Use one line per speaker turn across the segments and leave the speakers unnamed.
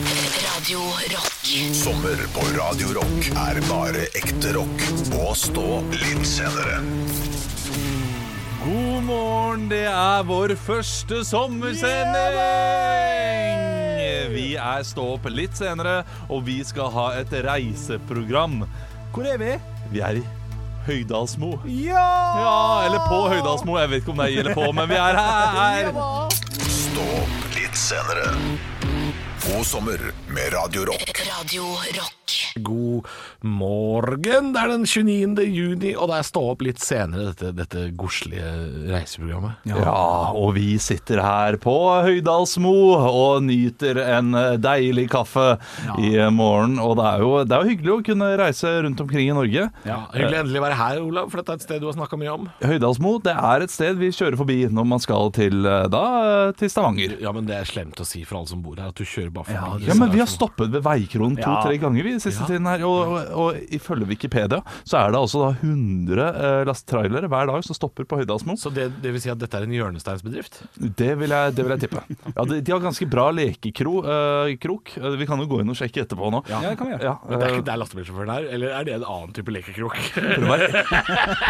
Radio Rock.
Sommer på Radio Rock er bare ekte rock. Og stå litt senere.
God morgen, det er vår første sommersending! Vi er Stå opp litt senere, og vi skal ha et reiseprogram. Hvor er vi? Vi er i Høydalsmo.
Ja!
Ja, eller på Høydalsmo. Jeg vet ikke om det er i eller på, men vi er her.
Stå opp litt senere. God sommer med Radio Rock.
Radio Rock.
God morgen. Det er den 29. juni, og det er stå opp litt senere, dette, dette godslige reiseprogrammet.
Ja, og vi sitter her på Høydalsmo og nyter en deilig kaffe i morgen. Og det er jo, det er jo hyggelig å kunne reise rundt omkring i Norge.
Ja, Hyggelig endelig å være her, Olav, for dette er et sted du har snakka mye om.
Høydalsmo det er et sted vi kjører forbi når man skal til, eh, da, eh, til Stavanger.
Ja, men det er slemt å si for alle som bor her, at du kjører bare
Ja,
forbi.
men Vi har stoppet ved Veikronen to-tre
Ja.
ganger vi siste
Ja.
tiden. her og, og, og ifølge Wikipedia så er det altså da 100 eh, lasttrailere hver dag som stopper på Høydalsmo.
Så det, det vil si at dette er en hjørnesteinsbedrift?
Det vil jeg, det vil jeg tippe. Ja, de, de har ganske bra lekekrok. eh, krok. Eh, vi kan jo gå inn og sjekke etterpå nå.
Ja, det
kan vi
Men det er ikke der lastebilsjåføren er, eller er det en annen type lekekrok?
For å, være,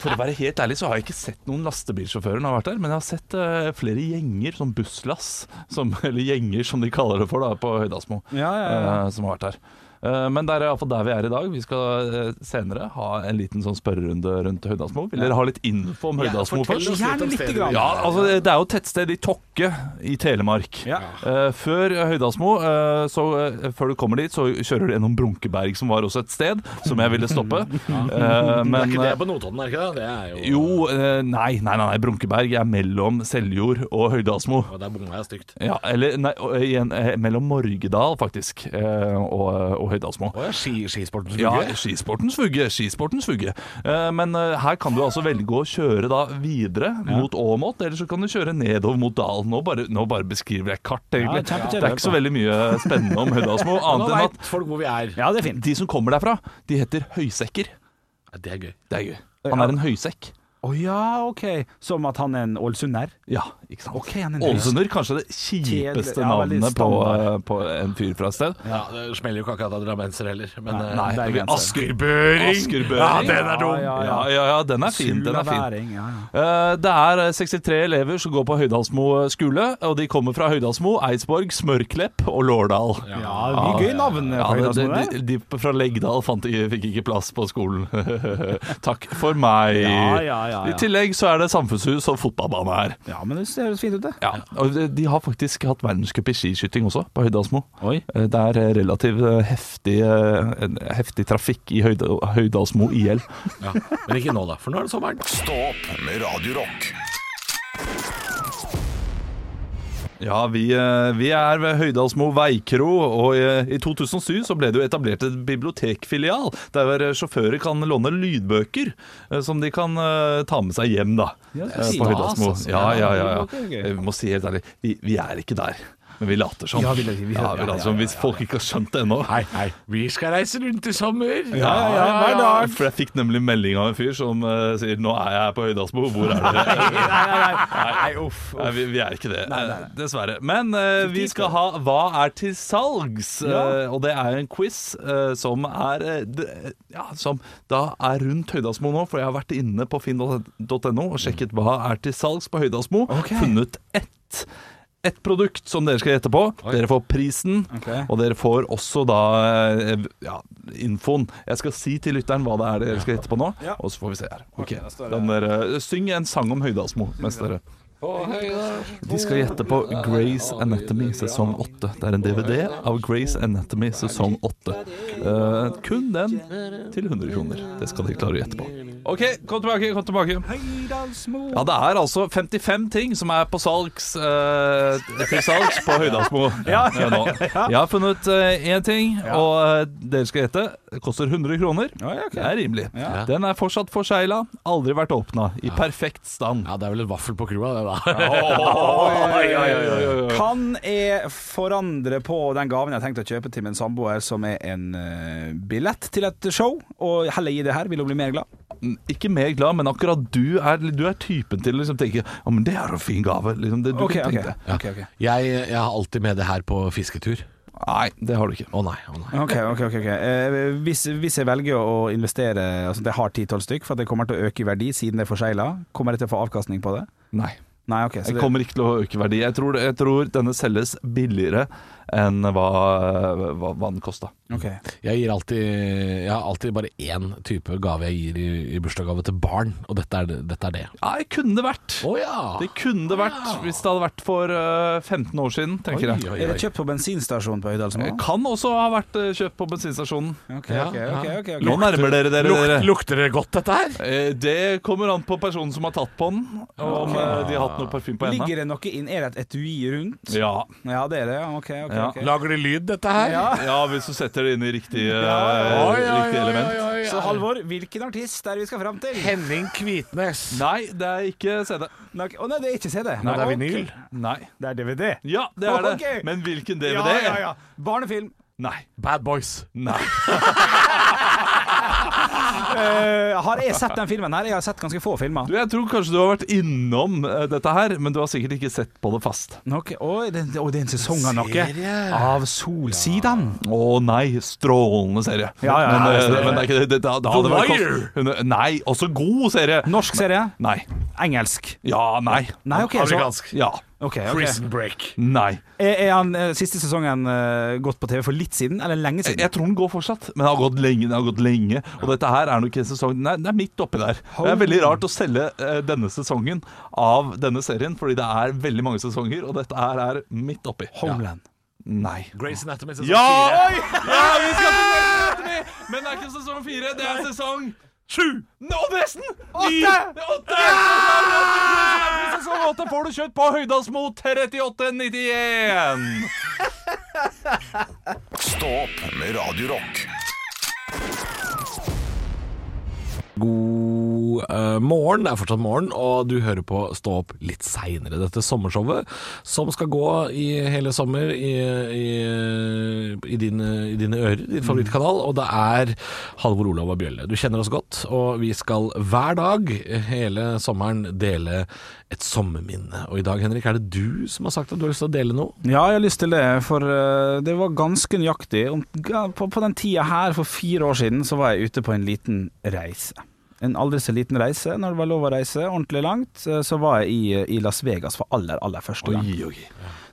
for å være helt ærlig så har jeg ikke sett noen lastebilsjåfører når jeg har vært der, men jeg har sett eh, flere gjenger, sånn busslass, som, eller gjenger som de kaller det for da, på Høydalsmo, eh, som har vært her. Eh, men det er iallfall der vi er i dag. Vi skal eh, senere ha en liten sånn spørrerunde rundt Høydalsmo. Vil dere ha litt info om Høydalsmo først?
Gjerne lite grann.
Ja, altså Det det er jo et tettsted i Tokke i Telemark. Eh, før Høydalsmo, eh, så eh, før du kommer dit, så kjører du gjennom Brunkeberg, som var også et sted som jeg ville stoppe. Eh,
Det er
men
ikke det på Notodden, er det ikke det? Det er jo,
jo, eh, nei, nei, nei, nei, Brunkeberg er mellom Seljord og Høydalsmo.
Og der bomma jeg stygt.
Ja, eller nei, og igjen, eh, mellom Morgedal, faktisk, eh, og, og Høydalsmo.
Å ja, ski, skisportens
Ja,
uke?
skisportens vugge. Skisportens vugge. Eh, Men eh, her kan du altså velge å kjøre da videre mot Åmot, eller så kan du kjøre nedover mot dalen. Nå bare, nå bare beskriver jeg kart, egentlig. det er ikke så veldig mye spennende om Høydalsmo,
Nå
annet enn
veit folk hvor vi er.
at de som kommer derfra, de heter høysekker.
Ja, det er gøy.
Det er gøy. Han er en høysekk.
Å ja, OK. Som at han er en ålesunder?
Ja, ikke sant.
Ok, han er en
Ålesunder, kanskje det kjipeste
Kjedelig. Ja, veldig
navnet på,
standard.
eh, på en fyr fra et sted.
Ja, Det smeller jo ikke akkurat av drammenser heller. Men eh,
Nei, det er grenser.
Askerbøring! Ja, den er dum!
Ja,
Ja, ja, ja.
ja, ja, den er fin. Den er fin.
Sulaværing, Ja, ja.
Eh, Det er eh, 63 elever som går på Høydalsmo eh, skole, og de kommer fra Høydalsmo, Eidsborg, Smørklepp og Lårdal. Ah,
ja mye gøy navn. eh,
Ja,
på
de,
Høydalsmoen,
de, de fra Leggdal fant, eh, fikk ikke plass på skolen. Takk for meg.
Ja, ja, ja, ja.
I tillegg så er det samfunnshus og fotballbane her.
ja, men det ser fint ut, det.
Ja, og de- De har faktisk hatt verdenscup i skiskyting også, på Høydalsmo.
Oi.
Eh, Det er eh, relativt eh, heftig, eh, en heftig trafikk i Høyda- Høydalsmo IL.
Ja. Men ikke nå, da, for nå er det sommeren.
Stå opp med Radio Rock.
Ja, vi, eh, vi er ved Høydalsmo veikro, og eh, i 2007 så ble det jo etablert et bibliotekfilial, der hvor, eh, sjåfører kan låne lydbøker eh, som de kan eh, ta med seg hjem, da.
Ja, det er
eh,
stas,
på Høydalsmo.
altså.
Ja, ja, ja. ja.
Det er gøy.
Eh, Vi må si helt ærlig, vi, vi er ikke der. Men vi later som.
Ja, vi- vi- vi-
Ja, vi later som. Hvis folk ikke har skjønt det ennå.
Hei, hei. Vi skal reise rundt i sommer.
Ja, For jeg fikk nemlig melding av en fyr som eh, sier 'nå er jeg på Høydalsmo, hvor er dere?'
Nei, uff.
Nei, vi, vi er ikke det, eh, dessverre. Men eh, vi skal ha Hva er til salgs? Eh, og det er en quiz eh, som er eh, d- Ja, som da er rundt Høydalsmo nå, for jeg har vært inne på finn.no og sjekket hva er til salgs på Høydalsmo.
Ok.
Funnet ett. Ett produkt som dere skal gjette på. Dere får prisen,
Ok.
og dere får også da eh, ja, infoen. Jeg skal si til lytteren hva det er dere skal gjette på nå,
Ja.
og så får vi se her. Ok,
da står
da må dere Syng en sang om Høydalsmo mens dere de skal gjette på Grace Anatomy sesong 8. Det er en DVD av Grace Anatomy sesong 8. Eh, kun den til 100 kroner. Det skal de klare å gjette på. OK, kom tilbake, kom tilbake.
Høydalsmo.
Ja, det er altså 55 ting som er på salgs eh, til salgs på Høydalsmo
Ja,
eh, nå. Jeg har funnet eh, én ting, og eh, dere skal gjette. Det koster 100 kroner.
Ja, ja, ok.
Det er rimelig.
Ja.
Den er fortsatt forsegla, aldri vært åpna. I perfekt stand.
Ja, det er vel en vaffel på krua, det, da.
Kan jeg forandre på den gaven jeg har tenkt å kjøpe til min samboer, som er en eh, billett til et show, og heller gi det her? Vil hun bli mer glad?
ikke mer glad, men akkurat du er, du er typen til å liksom tenke Ja, men det er en fin gave. Liksom det, du
OK,
kan
OK.
tenke.
ok, ok.
Jeg, jeg har alltid med det her på fisketur.
Nei, det har du ikke.
Å nei, å nei.
Ok, ok, ok, ok. Eh, hvis, hvis jeg velger å investere Altså det har 10-12 stykk, for at det kommer til å øke i verdi siden det er forsegla, kommer jeg til å få avkastning på det?
Nei.
Nei, ok. Så
Jeg
det,
kommer ikke til å øke verdi. Jeg tror, jeg tror denne selges billigere enn hva, hva, hva den kosta.
ok.
Jeg gir alltid Jeg har alltid bare én type gave jeg gir i, i bursdagsgave til barn, og dette er, det- dette er det.
Ja, det kunne det vært.
Å ja!
Det kunne det vært
Ah.
hvis det hadde vært for eh, 15 år siden, tenker
Oi,
jeg.
oi,
Er
oi.
det kjøpt på bensinstasjonen på Høydalsmoen?
Det Kan også ha vært eh, kjøpt på bensinstasjonen.
Ok,
Ja,
ok,
ja.
ok, ok, ok.
Nå nærmer dere dere. dere.
Luk, lukter det godt, dette her?
Eh, Det kommer an på personen som har tatt på den, og om eh, de har hatt noe parfyme på henda.
Ligger det noe inn? Er det et etui rundt?
Ja.
Ja, det er det. ja. Ok, ok.
Ja.
ok.
Lager det lyd, dette her?
Ja.
ja, hvis du setter det inn i riktig, eh,
Ja,
Oi, oi, oi,
riktig element.
oi, oi, oi.
Så Halvor, hvilken artist er det vi skal fram til?
Henning Kvitnes.
Nei, det er ikke CD.
Nei, ok. Å nei, det er ikke CD.
Nei, det er
Ok.
vinyl.
Nei.
Det er DVD.
Ja, det er det.
Ok.
Men hvilken DVD?
Ja, ja, ja. Barnefilm.
Nei.
Bad Boys.
Nei.
Eh, har jeg sett den filmen her? Jeg har sett ganske få filmer.
Du, jeg tror kanskje du har vært innom eh, dette her, men du har sikkert ikke sett på det fast.
Ok, Oi, det, oi, det er en sesong av noe.
Serie.
Av Solsiden.
Å nei, strålende serie.
Ja, ja,
men,
ja,
eh,
det-
men det er ikke det. det, da- da hadde
The
vært
Wire.
kost- Nei, også god serie.
Norsk serie.
Nei.
Engelsk.
Ja, nei.
Nei, ok. Så,
Amerikansk.
Ja.
ok, ok.
Prison Break.
Nei.
Er, er han eh, siste sesongen eh, gått på TV for litt siden, eller lenge
Jeg,
siden?
jeg tror den går fortsatt, men den har gått lenge. Den har gått lenge Og dette her er nok ikke en sesong Den er, den er midt oppi der. Det er veldig rart å selge eh, denne sesongen av denne serien, fordi det er veldig mange sesonger, og dette her er midt oppi.
Homeland.
Ja. Nei.
Grace Anatomy sesong
Ja!
fire.
Oi! ja vi skal til Grey's Anatomy, men det er ikke sesong fire, det er sesong Sju! Nå nesten! Ni! Åtte! Sesong åtte får du kjøtt på Høydalsmo 3891.
Stå opp med Radio Rock.
God eh, morgen, det er fortsatt morgen, og du hører på Stå opp litt seinere. Dette sommershowet som skal gå i hele sommer i, i, i, dine, i dine ører, din favorittkanal, og det er Halvor Olav og Bjølle. Du kjenner oss godt, og vi skal hver dag hele sommeren dele et sommerminne. Og i dag, Henrik, er det du som har sagt at du har lyst til å dele noe?
Ja, jeg har lyst til det, for eh, det var ganske nøyaktig. Om, ga- på, på den tida her, for fire år siden, så var jeg ute på en liten reise. En aldri så liten reise, når det var lov å reise ordentlig langt. eh, Så var jeg i, i Las Vegas for aller, aller første gang.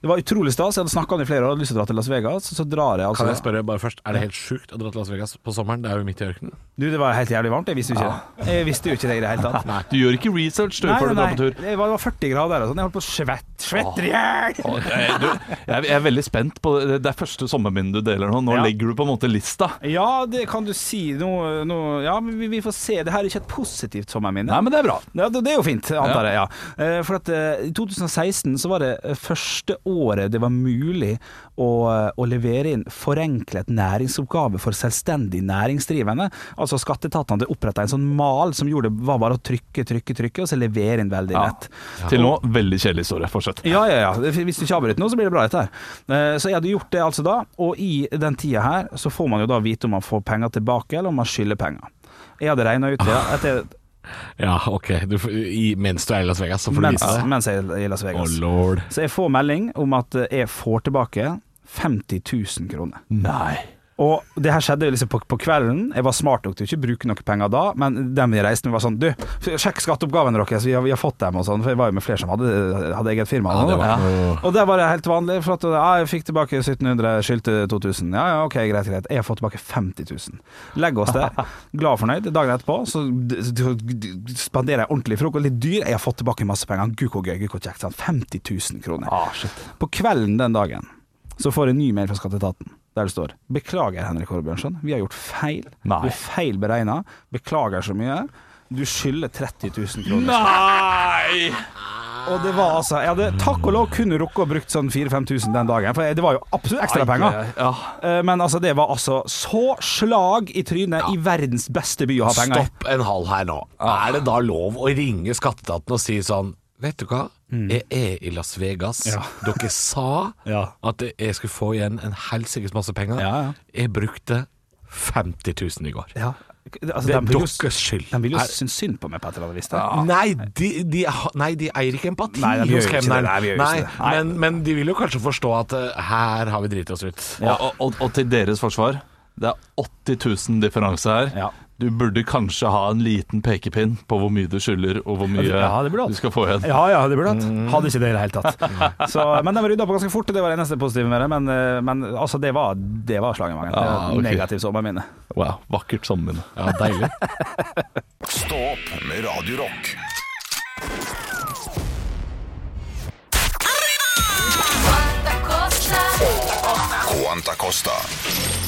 Det var utrolig stas. Jeg hadde snakka om det i flere år, hadde lyst til å dra til Las Vegas, så, så drar jeg altså
Kan jeg spørre bare først, er det helt sjukt å dra til Las Vegas på sommeren? Det er jo midt i ørkenen.
Du, det var helt jævlig varmt. Jeg visste jo ikke det. Jeg visste jo ikke det i det hele tatt.
Du gjør ikke research du, før du drar på tur.
Det var det var 40 grader og sånn. Jeg holdt på å svette Svetter i hjel!
Å, jeg- du, jeg, jeg er veldig spent på det. Det er første sommerminnet du deler nå. Nå
Ja.
legger du på en måte lista.
Ja, det kan du si. Nå, nå, ja, men vi, vi får se. Det her er ikke et positivt sommerminne.
Nei, men det er bra.
Ja, det, det er jo fint, antar jeg. ja. Eh, For at eh, i 2016 så var det eh, første året det var mulig å, eh, å levere inn forenklet næringsoppgave for selvstendig næringsdrivende. Altså skatteetatene oppretta en sånn mal som gjorde det var bare å trykke, trykke, trykke, og så levere inn veldig
Ja.
lett.
Til nå, veldig kjedelig historie. Fortsett.
Ja, ja, ja. Hvis du ikke avbryter nå, så blir det bra dette her. Eh, Så jeg hadde gjort det altså da, og i den tida her så får man jo da vite om man får penger tilbake, eller om man skylder penger. Jeg hadde regna ut det
Ah,
etter,
Ja, ok. Du, får- i, mens du er i Las Vegas, så får du
mens,
vise det.
mens jeg er i Las
Å,
Vegas.
lord.
Så jeg får melding om at jeg får tilbake 50 000 kroner.
Nei.
Og det her skjedde liksom på, på kvelden. Jeg var smart nok til å ikke bruke noen penger da, men dem vi reiste med var sånn Du, sjekk skatteoppgavene deres, vi har, vi har fått dem og sånn. For jeg var jo med flere som hadde, hadde eget firma.
Ja,
og
det
sånn.
var noe-
Og det var det helt vanlig. For at, ja, jeg fikk tilbake 1700, skyldte 2000. Ja, ja, ok, greit, greit. Jeg har fått tilbake 50 000. Legger oss der, glad og fornøyd. Dagen etterpå så d- d- d- spanderer jeg ordentlig frokost. Litt dyr. Jeg har fått tilbake masse penger. Gud, hvor gøy, gud, hvor kjekt. Sånn 50 000 kroner.
Ah,
På kvelden den dagen så får jeg en ny mail fra skatteetaten. Der det står 'Beklager, Henrik Håre Bjørnson. Vi har gjort feil.
Nei.
Du er feil beregna. Beklager så mye. Du skylder 30 000 kroner.
Nei!
Og det var altså Jeg hadde takk og lov kun rukket å brukt sånn 4-5 tusen den dagen, for det var jo absolutt ekstra penger.
Ja.
Eh, Men altså, det var altså så slag i trynet i verdens beste by å ha penger i.
Stopp en halv her nå. Er det da lov å ringe skatteetaten og si sånn Vet du hva, jeg er i Las Vegas.
Mm. Ja.
Dere sa
Ja.
at jeg skulle få igjen en helsikes masse penger.
Ja, ja.
Jeg brukte 50 000 i går.
Ja. Altså,
Det er
de vil jo-
deres skyld.
De vil jo
Er-
synes synd på meg på et eller annet vis. da.
Nei de, de, ha- nei, de eier ikke empati
Nei, de gjør
hos
ikke det.
kemneren.
Nei, vi gjør ikke
Nei,
det. Nei.
Men, men de vil jo kanskje forstå at eh, her har vi driti oss ut.
Og, og, og, og til deres forsvar, det er 80 000 differanse her.
Ja.
Du burde kanskje ha en liten pekepinn på hvor mye du skylder, og hvor mye
Ja, det burde du hatt.
du skal få igjen.
Ja, ja, det burde hatt. Hadde ikke det i det hele tatt. Så, men de rydda på ganske fort, det var det eneste positive med det. Men, eh, men altså, det var, det var slangemangen.
Ah, ok.
Negativ sommerminne.
Wow, vakkert sammenlignet.
Ja, deilig.
Stå opp med Radio Rock. Quanta Costa.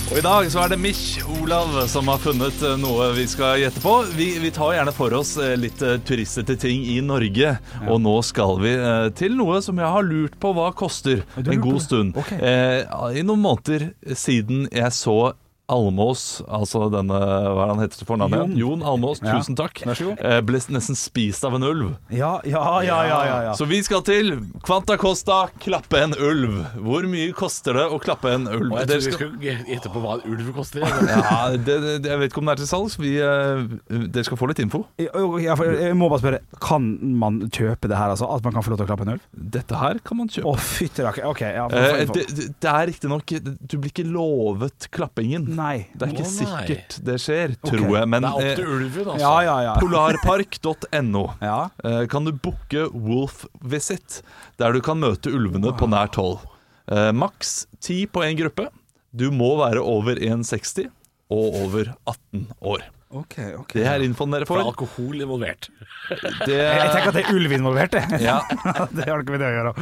Og I dag så er det Mich Olav som har funnet eh, noe vi skal gjette på. Vi, vi tar gjerne for oss eh, litt eh, turistete ting i Norge. Og nå skal vi eh, til noe som jeg har lurt på hva koster
du
en
har lurt på
god
det?
stund.
Ok.
Eh, I noen måneder siden jeg så Almås, altså denne Hva er han heter til fornavn? igjen? Jon Almås,
Ja.
tusen takk.
Vær så god.
Eh, Ble nesten spist av en ulv.
Ja, ja, ja, ja. ja, ja.
Så vi skal til Quanta Costa klappe en ulv. Hvor mye koster det å klappe en ulv?
Og
Dere
jeg trodde vi
skal-
skulle gjette på hva en ulv koster.
ja, det, det, jeg vet ikke om det er til salgs. Vi, eh, dere skal få litt info.
Jeg, jeg, jeg- jeg må bare spørre, kan man kjøpe det her, altså? At man kan få lov til å klappe en ulv?
Dette her kan man
Å,
kjøpe.
fytti rakker. OK. Ja,
Eh,
for, for,
det, det- det er riktignok Du blir ikke lovet klappingen.
Nei.
Det er ikke
Å, nei.
sikkert det skjer,
Ok.
tror jeg. Men
Det er opp
eh,
til ulven, altså.
Ja, ja, ja.
polarpark.no
Ja.
eh, kan du booke Wolf Visit, der du kan møte ulvene på nært hold. Eh, Maks ti på én gruppe. Du må være over 1,60 og over 18 år.
OK, OK.
Det er infoen dere
For det er
får.
alkohol involvert.
Jeg
Det,
tenker at det er ulv involvert, det.
ja,
det har ikke med det å gjøre.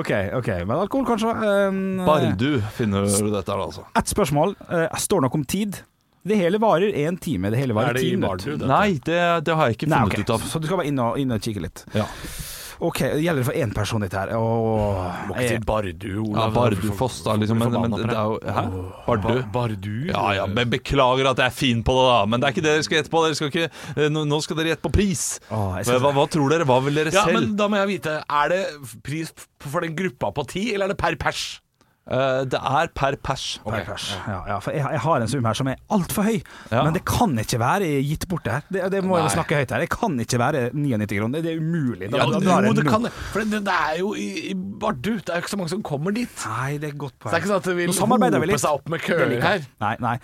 OK, ok, men alkohol kanskje. eh,
Bardu finner du dette her, altså.
Ett spørsmål. Eh, står nok om tid. Det hele varer én time. Det hele varer
Er det
ti
i
minutter.
Bardu? dette?
Nei, det, det har jeg ikke
Nei,
funnet
ok.
ut av.
Så du skal bare inn og, inn og kikke litt.
Ja.
Ok, det gjelder for én person dette her. Åh,
Må ikke
jeg-
til Bardu,
Ja,
Olav.
Bardufoss, da, liksom. Men, men det er jo Hæ? Bardu?
Ba- Bardu?
Ja ja, men beklager at jeg er fin på det, da. Men det er ikke det dere skal gjette på. Dere skal ikke, eh, nå- nå skal dere gjette på pris.
Åh, jeg skal-
Hva, hva tror dere? Hva vil dere
Ja,
selv?
men da må jeg vite, er det pris for den gruppa på ti, eller er det per pers?
Eh, det er per pers.
Per pers. Ja, ja, for jeg, jeg har en sum her som er altfor høy,
Ja.
men det kan ikke være gitt bort det her. Det, det må
Nei.
jeg snakke høyt her. Det kan ikke være 99 kroner, det er umulig. Da-
Ja,
da- da er
jo, det
null.
kan det. For det, det er jo i, i Bardu. Det er jo ikke så mange som kommer dit.
Nei, det er et godt
Så
poeng.
det er ikke sånn at det vil
Nå samarbeider vi
hope
litt.
seg opp med køer
Det liker jeg.
her.
Nei, nei.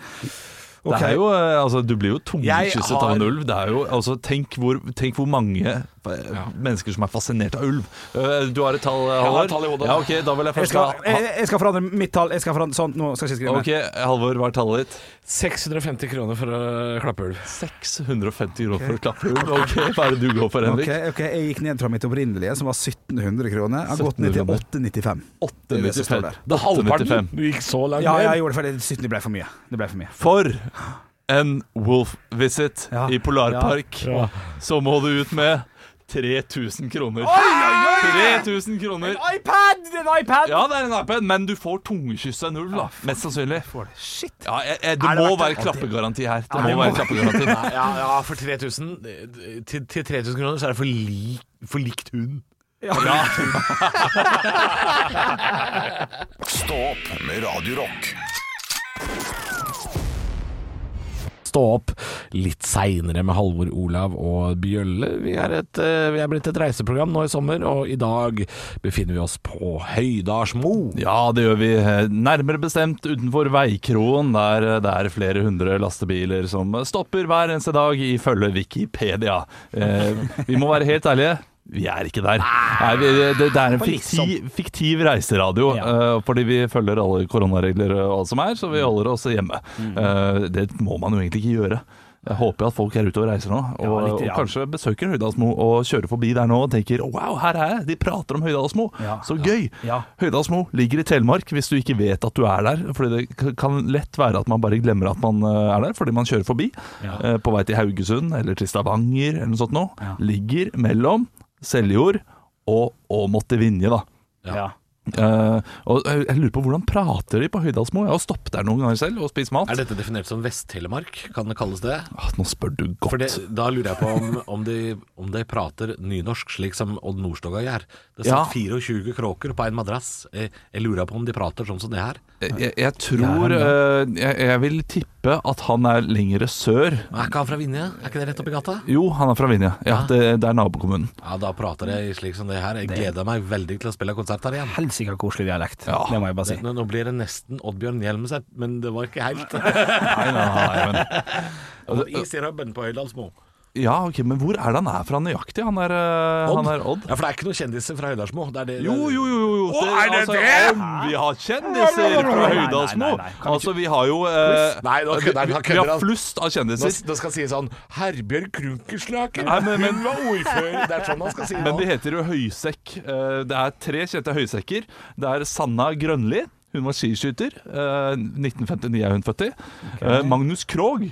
Det
Ok.
er jo, eh, altså, du blir jo tungkysset
Jeg har-
av en ulv. Det er jo, altså, tenk, hvor, tenk hvor mange eh, mennesker som er fascinert av ulv. Eh, du har et tall, eh,
har
Halvor?
et tall i hodet.
Ja, ok, da vil jeg
Jeg
først
skal,
ha-
jeg, jeg skal forandre mitt tall. Jeg skal forandre, sånn, nå skal jeg ikke skrive mer.
Ok, Halvor, hva er tallet ditt?
650 kroner for å klappe ulv.
650 kroner for å klappe ulv. Ok, Hva er det du går for, Henrik?
Ok, ok, jeg gikk ned fra mitt opprinnelige, som var 1700 kroner. Jeg har gått ned til 895. Det er det som
895.
står der.
Det er halvparten.
895.
Du gikk så langt
Ja,
ned.
jeg gjorde det fordi 1700 ble for mye. Det ble for mye.
For en wolf visit
Ja.
i Polarpark, så må du ut med 3000 kroner. 3000 kroner.
iPad! Det er en iPad!
Ja, det er en iPad, men du får tungekysse en ulv, da. Mest sannsynlig.
Shit.
Ja, jeg, jeg, det må være klappegaranti her. Det må være klappegaranti.
Nei, ja, ja, for 3000 eh, til, til 3000 kroner så er det for, li, for likt hund.
Stå opp med Radio Rock.
Stå opp litt seinere med Halvor Olav og Bjølle. Vi er, et, eh, vi er blitt et reiseprogram nå i sommer, og i dag befinner vi oss på Høydalsmo.
Ja, det gjør vi. Eh, Nærmere bestemt utenfor Veikroen, der eh, det er flere hundre lastebiler som stopper hver eneste dag, ifølge Wikipedia. Eh, vi må være helt ærlige. Vi er ikke der. Nei, vi, det, det er en
liksom.
fiktiv, fiktiv reiseradio, eh, fordi vi følger alle koronaregler og alt som er, så
Mm.
vi holder oss hjemme. Eh, det må man jo egentlig ikke gjøre. Jeg håper at folk er ute og reiser nå, og,
litt, ja.
og kanskje besøker Høydalsmo og kjører forbi der nå og tenker wow, her er jeg, de prater om Høydalsmo,
Ja.
så gøy.
Ja.
Høydalsmo ligger i Telemark, hvis du ikke vet at du er der. Fordi det k- kan lett være at man bare glemmer at man eh, er der, fordi man kjører forbi. eh, På vei til Haugesund eller til Stavanger eller noe sånt noe. Ligger mellom Seljord og Åmot i Vinje, da.
Ja.
Eh, og jeg jeg lurer på hvordan prater de på Høydalsmo? Jeg har stoppet der noen ganger selv og spist mat.
Er dette definert som Vest-Telemark? Kan det kalles det?
Ah, nå spør du godt.
For det, Da lurer jeg på om, om, de, om de prater nynorsk, slik som Odd Nordstoga gjør. Det
Ja.
satt 24 kråker på en madrass. Jeg, jeg lurer på om de prater sånn som det her.
Jeg, jeg tror eh, jeg, jeg vil tippe tippe at han er lengre sør.
Er ikke han fra Vinje? Er ikke det rett oppi gata?
Jo, han er fra Vinje. Ja, det, det er nabokommunen.
Ja, da prater jeg slik som det her. Jeg gleder meg veldig til å spille konsert her igjen.
Helsike koselig dialekt. Det må jeg bare si.
Nå, nå blir det nesten Oddbjørn Hjelmset, men det var ikke helt. Altså,
Nei, nei, nei, men
Is i rømmen på Høylandsmo.
Ja, ok, men hvor er det han er fra nøyaktig? Han er, eh, han er Odd?
Ja, for det er ikke noen kjendiser fra Høylandsmo. Det er det,
Jo, jo, jo, jo, jo.
Å, er det det?
om vi har kjendiser fra
Nei, nei,
Høydalsmo
nei, nei. Kan vi
Altså, vi har jo eh,
Nei, nå kødder han,
vi,
han
vi
kødder
har
han.
flust av
Nå,
kjendiser.
nå skal han si sånn Herbjørg Krunkerslaken,
Nei, men- men-
hun var ordfører. Det er sånn han skal si
Men
nå.
de heter jo høysekk. Eh, Det er tre kjente høysekker. Det er Sanna Grønli. Hun var skiskytter. Eh, 1959 er hun født i. Eh, Magnus Krogh.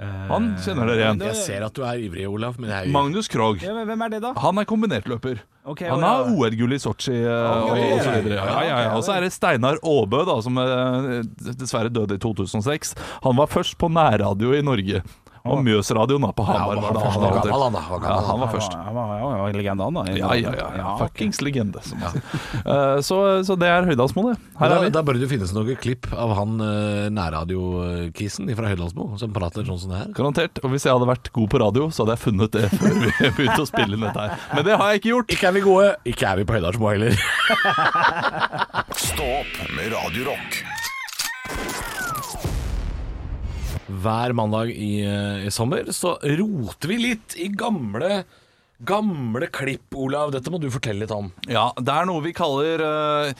Han kjenner dere igjen.
Jeg ser at du er ivrig, Olav, men jeg er jo
Magnus Krogh.
Ja, men hvem er det, da?
Han er kombinertløper.
Ok,
han
ja,
har
ja.
OL-gull i Sotsji eh, og,
ja,
og så
ja,
videre.
ja,
Ja,
ja,
ja, ja. Og så er det Steinar Aabø, da, som eh, dessverre døde i 2006. Han var først på nærradio i Norge. Og Mjøsradioen da, på Hamar. var
han var
da
først,
han
han var
var til.
gammel, han da, han var
Ja,
gammel.
han var først.
Han var, han var legende, han da.
Ja, ja, ja. ja
ok.
Fuckings legende. Som man sier. Eh, så, så det er Høydalsmo, det. Her
da,
er vi.
da bør det jo finnes noen klipp av han uh, nærradiokisen fra Høylandsmo som prater sånn som det her.
Garantert. Og hvis jeg hadde vært god på radio, så hadde jeg funnet det før vi begynte å spille inn dette her. Men det har jeg ikke gjort.
Ikke er vi gode, ikke er vi på Høylandsmo heller.
Stå opp med Radio Rock.
Hver mandag i, eh, i sommer så roter vi litt i gamle Gamle klipp, Olav. Dette må du fortelle litt om.
Ja, det er noe vi kaller eh,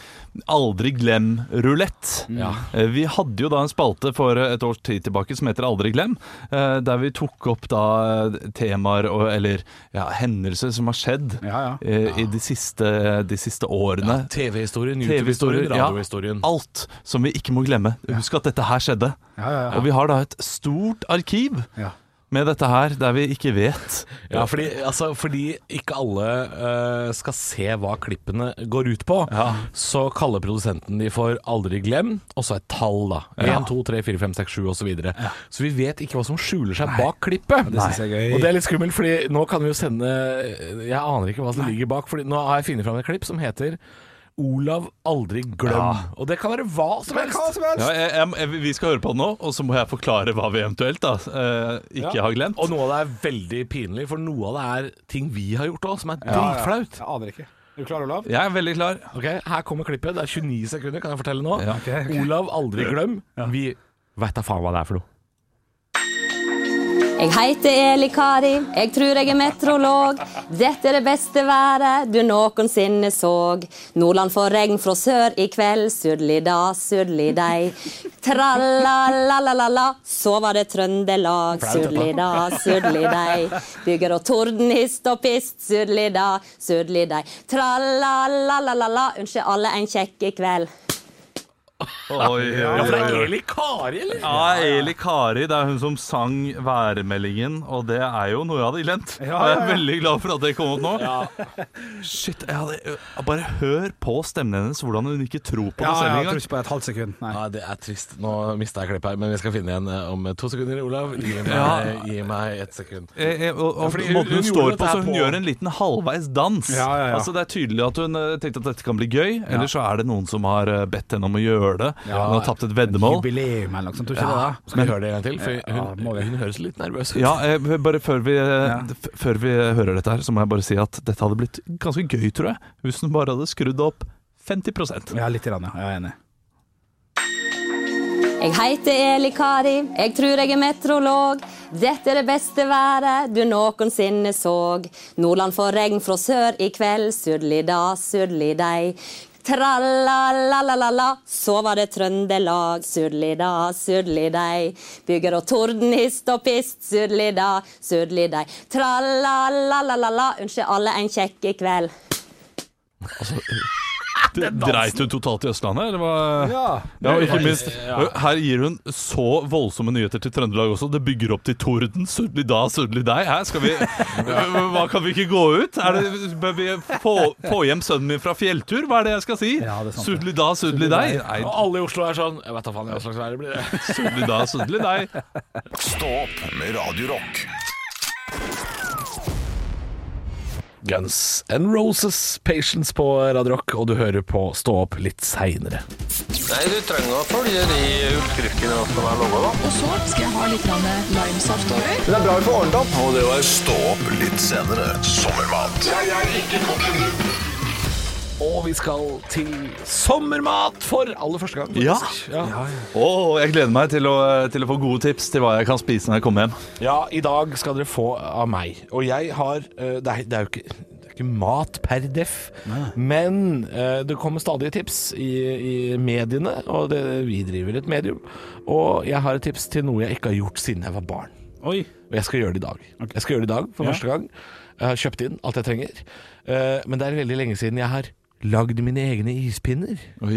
aldri glem rulett. Eh, vi hadde jo da en spalte for eh, et års tid tilbake som heter Aldri glem, eh, der vi tok opp da eh, temaer og, eller ja, hendelser som har skjedd
Ja, ja.
eh, i de siste, de siste årene.
TV-historien,
TV-historien,
YouTube-historien, radiohistorien.
alt som vi ikke må glemme. Husk at dette her skjedde.
Ja, ja, ja.
Og vi har da et stort arkiv
Ja.
med dette her, der vi ikke vet.
Ja, fordi, altså, fordi ikke alle eh, skal se hva klippene går ut på, så kaller produsenten de for 'aldri glem', og så et tall, da. 1, 2, 3, 4, 5, 6, 7 osv. Så, videre. så vi vet ikke hva som skjuler seg bak klippet.
det synes jeg er gøy.
Og det er litt skummelt, fordi nå kan vi jo sende Jeg aner ikke hva som ligger bak, Fordi nå har jeg funnet fram et klipp som heter 'Olav aldri glem'. Og det kan være hva som helst.
Hva som helst!
Ja, jeg, jeg, jeg, vi skal høre på det nå, og så må jeg forklare hva vi eventuelt da, eh, ikke har glemt.
Og noe av det er veldig pinlig, for noe av det er ting vi har gjort òg, som er dritflaut.
Jeg aner ikke. Er du klar, Olav?
Jeg er veldig klar.
Ok, Her kommer klippet. Det er 29 sekunder, kan jeg fortelle nå.
Ja.
Ok, ok.
Olav, aldri glem. Vi veit da faen hva det er for noe.
Jeg heter Eli Kari, jeg tror jeg er meteorolog. Dette er det beste været du noensinne såg. Nordland får regn fra sør i kveld, sudli da, sudli dei. Tralla-la-la-la, så var det Trøndelag, sudli da, sudli dei. Byger og torden, hist og pist, sudli da, sudli dei. Tralla-la-la-la, ønsker alle en kjekk kveld.
Oi, oi,
Ja, for det
oi,
er
oi.
Eli Kari, eller?
Ja, Eli Kari, det er hun som sang værmeldingen, og det er jo noe jeg hadde glemt.
Ja, ja, ja.
Jeg er veldig glad for at det kom opp nå. Shit, jeg hadde, jeg bare hør på stemmen hennes, hvordan hun ikke tror på det
Ja, ja,
selv
jeg tror
engang.
ikke på et halvt sekund. Nei.
Ja, Det er trist. Nå mista jeg klippet her, men vi skal finne en eh, om to sekunder. Olav, gi meg,
Ja.
gi meg et sekund.
Eh, eh, og, og
fordi hun-
måten hun,
hun gjorde
står
dette
på,
her
så hun
på-
gjør en liten halvveis dans.
Ja, ja, ja.
Altså Det er tydelig at hun eh, tenkte at dette kan bli gøy, eller så er det noen som har eh, bedt henne om å gjøre det. hun har tapt et veddemål.
Jubileum eller noe sånt, tror du ikke det? da?
Skal vi høre det en gang til? For
Ja,
hun,
må vi.
hun høres litt nervøs ut.
Ja, eh, bare før vi, eh, f- før vi eh, hører dette her, så må jeg bare si at dette hadde blitt ganske gøy, tror jeg, hvis hun bare hadde skrudd opp 50
Ja, litt grann, ja. Jeg er enig.
Jeg heter Eli Kari, jeg tror jeg er meteorolog. Dette er det beste været du noensinne såg. Nordland får regn fra sør i kveld, sudli da, sudli dei. Tralla-la-la-la-la, så var det Trøndelag, sudli da, sudli dei. Byger og torden, hist og pist, sudli da, sudli dei. Tralla-la-la-la-la, ønsker alle en kjekk kveld.
Dreit hun totalt i Østlandet, eller hva?
Ja.
Ja, og ikke minst, eh, her gir hun så voldsomme nyheter til Trøndelag også. Det bygger opp til torden. Sudderlig da, sudderlig deg. Her skal vi Hva kan vi ikke gå ut? Er det, bør vi få, få hjem sønnen min fra fjelltur? Hva er det jeg skal si?
Ja, det er sant, det.
Sudderlig da, sudderlig deg.
Og
Nei,
alle i Oslo er sånn Jeg vet da faen hva slags vær det blir. det.
sudderlig da, sudderlig deg.
Stå opp med Radio Rock.
Guns N' Roses, Patience på Radio Rock, og du hører på Stå opp litt seinere.
Nei, du trenger å følge de oppskriftene som er laga, da.
Og så skal jeg ha litt grann limesaft over.
Det er bra vi får ordnet opp.
Og det var Stå opp litt senere. Sommermat.
Og vi skal til sommermat for aller første gang.
Ja.
faktisk. ja.
Å, jeg gleder meg til å, eh, til å få gode tips til hva jeg kan spise når jeg kommer hjem.
Ja, i dag skal dere få av meg. Og jeg har eh, Det er, det er jo ikke det er ikke mat per def, men eh, det kommer stadige tips i, i mediene, og det, vi driver et medium. Og jeg har et tips til noe jeg ikke har gjort siden jeg var barn.
Oi.
Og jeg skal gjøre det i dag. Jeg skal gjøre det i dag for
Ja.
første gang. Jeg har kjøpt inn alt jeg trenger. Eh, men det er veldig lenge siden jeg har lagd mine egne ispinner.
Å,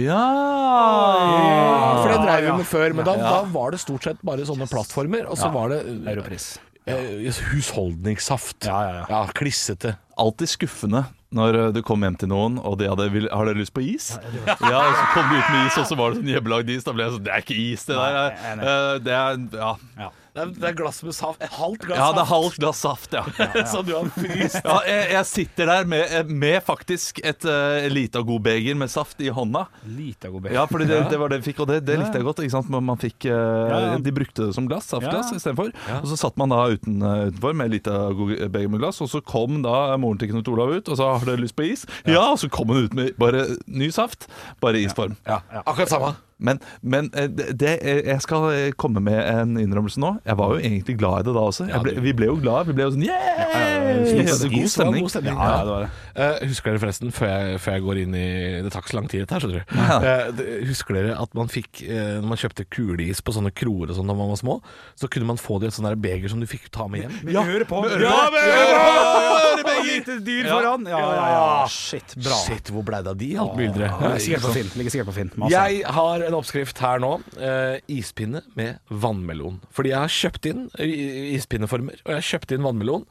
Ja!
for
Ah,
det dreiv vi med før, men da, da var det stort sett bare sånne plattformer, og så var det
Europris.
Eh, husholdningssaft.
Ja, ja, ja.
klissete.
Alltid skuffende når eh, du kom hjem til noen og de hadde vil- Har dere lyst på is? Ja, og så kom de ut med is, og så var det sånn hjemmelagd is. Da ble jeg sånn Det er ikke is, det der.
Nei, nei,
eh, Det er Ja.
Det er, glass med saft. Et halvt glass
Ja, det er halvt glass saft, ja. Sånn,
Som du har fryst.
ja jeg, jeg sitter der med, med faktisk et uh, lita god beger med saft i hånda.
Lite god bacon.
Ja, fordi det, det var det vi fikk, og det, det likte jeg godt. Ikke sant? Men man fikk, eh,
ja.
De brukte det som glass, saftglass
Ja.
istedenfor. Og så satt man da uten, eh, utenfor med litt av go- beger med glass, og så kom da moren til Knut Olav ut og sa 'har dere lyst på is'? Ja, og så kom hun ut med bare ny saft, bare i isform.
Akkurat samme.
Men, men eh, det, det, eh, jeg skal eh, komme med en innrømmelse nå. Jeg var jo egentlig glad i det da også. Jeg ble, vi ble jo glad. Vi ble jo sånn yeah!
Is
Så
var
God stemning.
Ja,
Ja, det var det.
Eh, husker dere forresten, før jeg, før jeg går inn i Det tar ikke så lang tid dette her, skjønner du. Eh, det- husker dere at man fikk eh, Når man kjøpte kuleis på sånne kroer og sånn da man var små, så kunne man få det i et sånt der beger som du fikk ta med hjem.
Ja, hører på.
Ja,
Ja,
men hør på!
Lite dyr foran. Ja, ja, ja. Shit, bra.
Shit, hvor blei det av de, alt myldret?
Ligger sikkert på Finn. Ligger sikkert på Finn. Masse.
Jeg har en oppskrift her nå. Eh, ispinne med vannmelon. Fordi jeg har kjøpt inn eh, i- i- ispinneformer, og jeg har kjøpt inn vannmelon.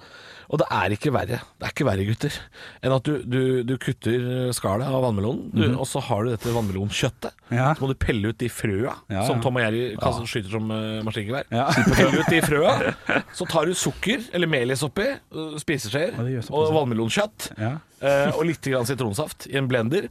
Og det er ikke verre, det er ikke verre, gutter, enn at du, du, du kutter eh, skallet av vannmelonen, du, og så har du dette vannmelonkjøttet.
Mhm. Ja.
Så må du pelle ut de frøa
Ja, ja.
som Tom og Jerry kaster- skyter som uh, maskingevær.
Ja.
Pelle ut de frøa. Så tar du sukker, eller melis oppi, eh, spiseskjeer
Ja, det gjør såpass,
og vannmelonkjøtt,
Ja.
eh, og litt grann sitronsaft i en blender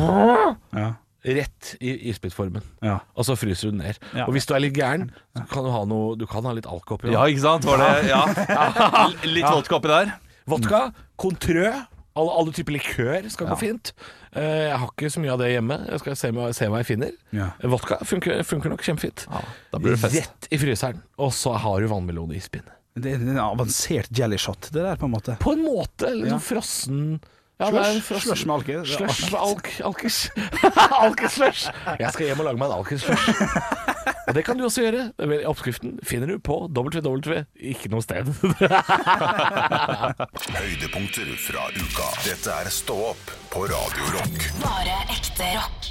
Ja.
rett i isbitformen.
Ja.
Og så fryser du den ned.
Ja.
Og hvis du er litt gæren, så kan du ha, noe, du kan ha litt alk oppi.
Ja,
da.
ikke sant? Var det, ja. L- Litt vodka oppi der.
Vodka,
Mm.
kontrø, alle, alle typer likør skal gå fint. Eh, jeg har ikke så mye av det hjemme. Jeg skal se, hva- se hva jeg finner. Eh,
Ja.
Vodka funker, funker nok kjempefint.
da blir det fest.
Rett i fryseren. Og så har du vannmelon i ispinne.
Det er en avansert jelly shot, det der, på en måte.
På en måte. Eller
Ja.
sånn frossen ja, det er
Slush,
en frossen-
slush med alke.
Slush med alk, alkis. Alkislush. Jeg skal hjem og lage meg en alkislush. Og det kan du også gjøre. Vel, Oppskriften finner du på www. Ikke noe sted.
Høydepunkter fra uka. Dette er Stå opp på Radio Rock.
Bare ekte rock.